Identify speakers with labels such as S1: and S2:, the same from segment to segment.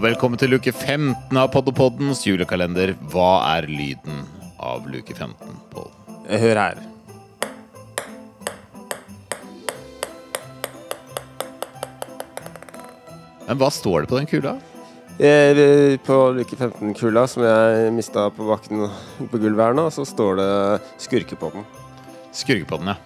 S1: Velkommen til uke 15 av Poddepoddens julekalender. Hva er lyden av luke 15, Pål?
S2: Hør her.
S1: Men hva står det på den kula?
S2: Eh, På luke 15-kula som jeg mista på bakken på gulvet her nå, så står det 'skurke' på den.
S1: Skurkepodden, ja.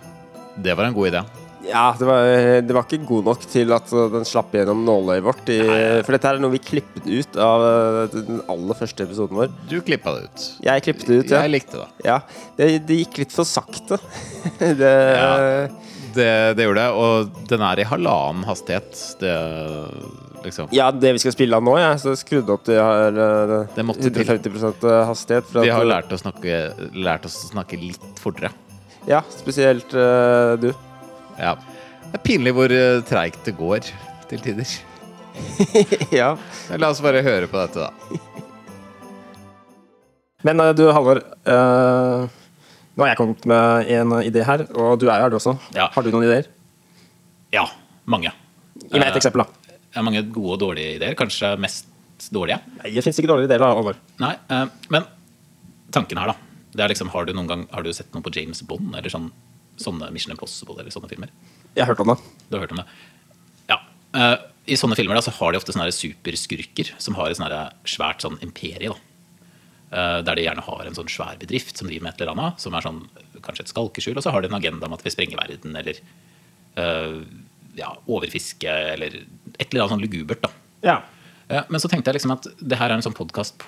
S1: Det var en god idé.
S2: Ja, det var, det var ikke god nok til at den slapp gjennom nåløyet vårt. I, for dette her er noe vi klippet ut av eh, den aller første episoden vår.
S1: Du klippa det ut.
S2: Jeg klippet det ut, ja.
S1: Jeg likte det.
S2: ja. Det, det gikk litt for sakte. det,
S1: Ja. Det, det gjorde jeg, og den er i halvannen hastighet. Det liksom
S2: Ja, det vi skal spille av nå, jeg, så jeg skrudde opp til eh,
S1: Det måtte til.
S2: 150 eh, hastighet. for
S1: De
S2: at-
S1: har lært, å snakke, lært oss å snakke litt fortere.
S2: Ja, spesielt eh, du.
S1: Ja. Det er pinlig hvor eh, treigt det går til tider.
S2: ja.
S1: La oss bare høre på dette, da.
S3: Men eh, du, Halvor. eh, nå har jeg kommet med en idé her, og du er jo her, du også.
S4: Ja.
S3: Har du noen ideer?
S4: Ja, mange.
S3: Gi meg et eksempel, da.
S4: Det er mange gode og dårlige ideer. Kanskje mest dårlige.
S3: Nei, Det fins ikke dårligere ideer, da, Halvor.
S4: Nei, eh, men tanken her, da. Det er liksom, har du noen gang har du sett noe på James Bond eller sånn, sånne Mission Impossible eller sånne filmer?
S3: Jeg har hørt om det.
S4: Du har hørt om det? Ja. eh, I sånne filmer da, så har de ofte sånne her superskurker som har et sånne her svært sånn imperie. da. Eh, Der de gjerne har en sånn svær bedrift som driver med et eller annet. Som er sånn, kanskje et skalkeskjul, og så har de en agenda om at vi sprenger verden, eller eh, ja, overfiske, eller et eller annet sånn lugubert. da.
S3: Ja.
S4: Ja, Men så tenkte jeg liksom at det her er en sånn podkast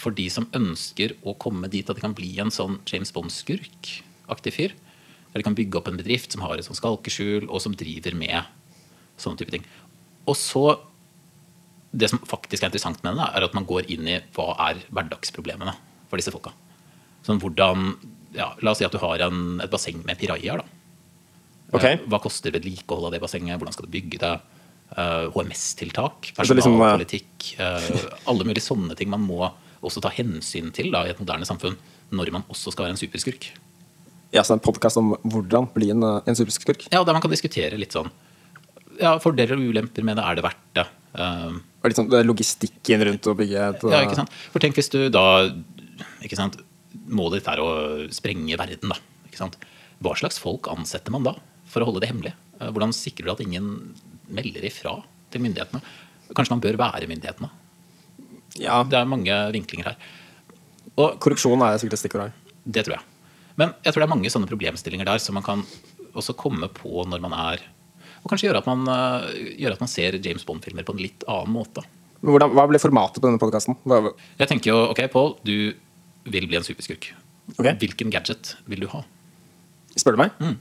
S4: for de som ønsker å komme dit at de kan bli en sånn James Bond-skurk-aktig fyr. Der de kan bygge opp en bedrift som har et sånt skalkeskjul, og som driver med sånne type ting. Og så Det som faktisk er interessant med den, er at man går inn i hva er hverdagsproblemene for disse folka. Sånn hvordan ja, La oss si at du har en, et basseng med pirajaer, da.
S3: Ok.
S4: Eh, Hva koster vedlikehold av det bassenget? Hvordan skal du bygge det? Eh, HMS-tiltak,
S3: Altså liksom, eh,
S4: personalpolitikk eh, Alle mulige sånne ting man må også ta hensyn til da, i et moderne samfunn når man også skal være en superskurk.
S3: Ja, så det er en podkast om hvordan bli en, eh, en superskurk.
S4: Ja, Der man kan diskutere litt sånn ja, fordeler og ulemper med det. Er det verdt det? Eh,
S3: Og litt sånn det er logistikken rundt å bygge et
S4: ja, ikke sant? For tenk hvis du da ikke sant, Målet ditt er å sprenge verden, da. Ikke sant? Hva slags folk ansetter man da for å holde det hemmelig? Eh, Hvordan sikrer du at ingen melder ifra til myndighetene? Kanskje man bør være myndighetene?
S3: eh, Ja,
S4: Det er mange vinklinger her. Og
S3: Korrupsjon er sikkert et stikkord her.
S4: det tror jeg. Men jeg tror det er mange sånne problemstillinger der som man kan også komme på når man er Og kanskje gjøre at man, eh, gjøre at man ser James Bond-filmer på en litt annen måte.
S3: Men hvordan, hva ble formatet på denne podkasten? Ok,
S4: Jeg tenker jo, ok, Pål, du vil bli en superskurk. Hvilken gadget vil du ha?
S3: Spør du meg?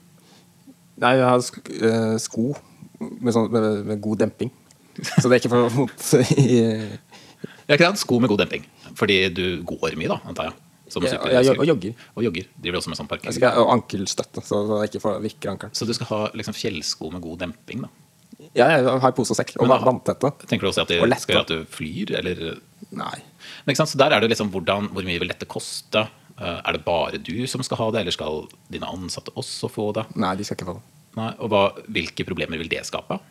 S3: Nei, jeg har sk eh, sko med, sånn, med, med god demping. Så det er ikke for vondt i
S4: Jeg kan ha sko med god demping, fordi du går mye, da, antar jeg. Som
S3: Ja,
S4: superskurk.
S3: jeg- og jogger.
S4: Og jogger. Driver også med sånn park.
S3: Jeg skal ha ankelstøtte, så så jeg ikke får virker ankelen.
S4: Så du skal ha liksom, fjellsko med god demping, da.
S3: Ja, jeg har pose og sekk. Og
S4: Men da-
S3: vanntette.
S4: Tenker du også at det
S3: Og lett,
S4: skal
S3: da.
S4: gjøre at du flyr, eller
S3: Nei.
S4: Men ikke sant? Så der er det liksom hvordan, hvor mye vil dette koste? Eh, Er det bare du som skal ha det, eller skal dine ansatte også få det?
S3: Nei, de skal ikke få det.
S4: Nei, og hva, hvilke problemer vil det skape?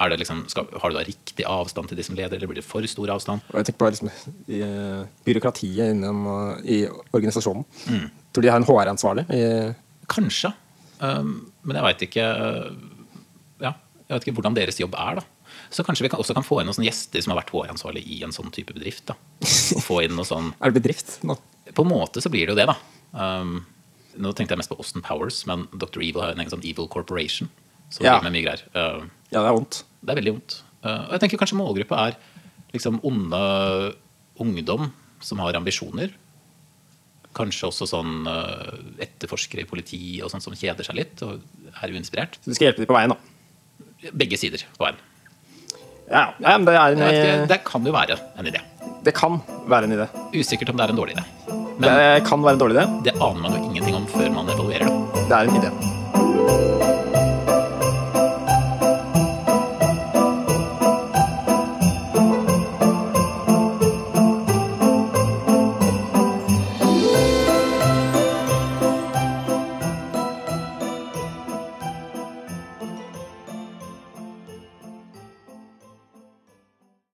S4: Er det liksom, skal, har du da riktig avstand til de som leder, eller blir det for stor avstand?
S3: Og jeg tenker på liksom, i, eh, byråkratiet innen, eh, i organisasjonen. Tror de har en HR-ansvarlig. i-
S4: Kanskje. Um, men jeg veit ikke uh, Ja, jeg vet ikke hvordan deres jobb er, da. Så kanskje vi kan, også kan få inn noen sånne gjester som har vært HR-ansvarlig i en sånn type bedrift. da. Og få inn noe sånn
S3: Er det bedrift nå?
S4: På en måte så blir det jo det, da. Um, nå tenkte jeg mest på Austin Powers, men Dr. Evil har jo en egen sånn Evil Corporation. Som
S3: Ja.
S4: driver med mye greier. Um,
S3: Ja, det er vondt.
S4: det er veldig vondt. Uh, og jeg tenker kanskje målgruppa er liksom onde ungdom som har ambisjoner. Kanskje også sånn uh, etterforskere i politiet og sånn som kjeder seg litt og er uinspirert.
S3: Så du skal hjelpe dem på veien, da.
S4: Begge sider på veien.
S3: Ja, ja men det, er en,
S4: Jeg vet ikke,
S3: eh,
S4: Det kan jo være en idé.
S3: det kan være en idé.
S4: Usikkert om det er en dårlig idé. Men
S3: Det kan være en dårlig idé.
S4: det aner man jo ingenting om før man evaluerer det.
S3: Det er en idé.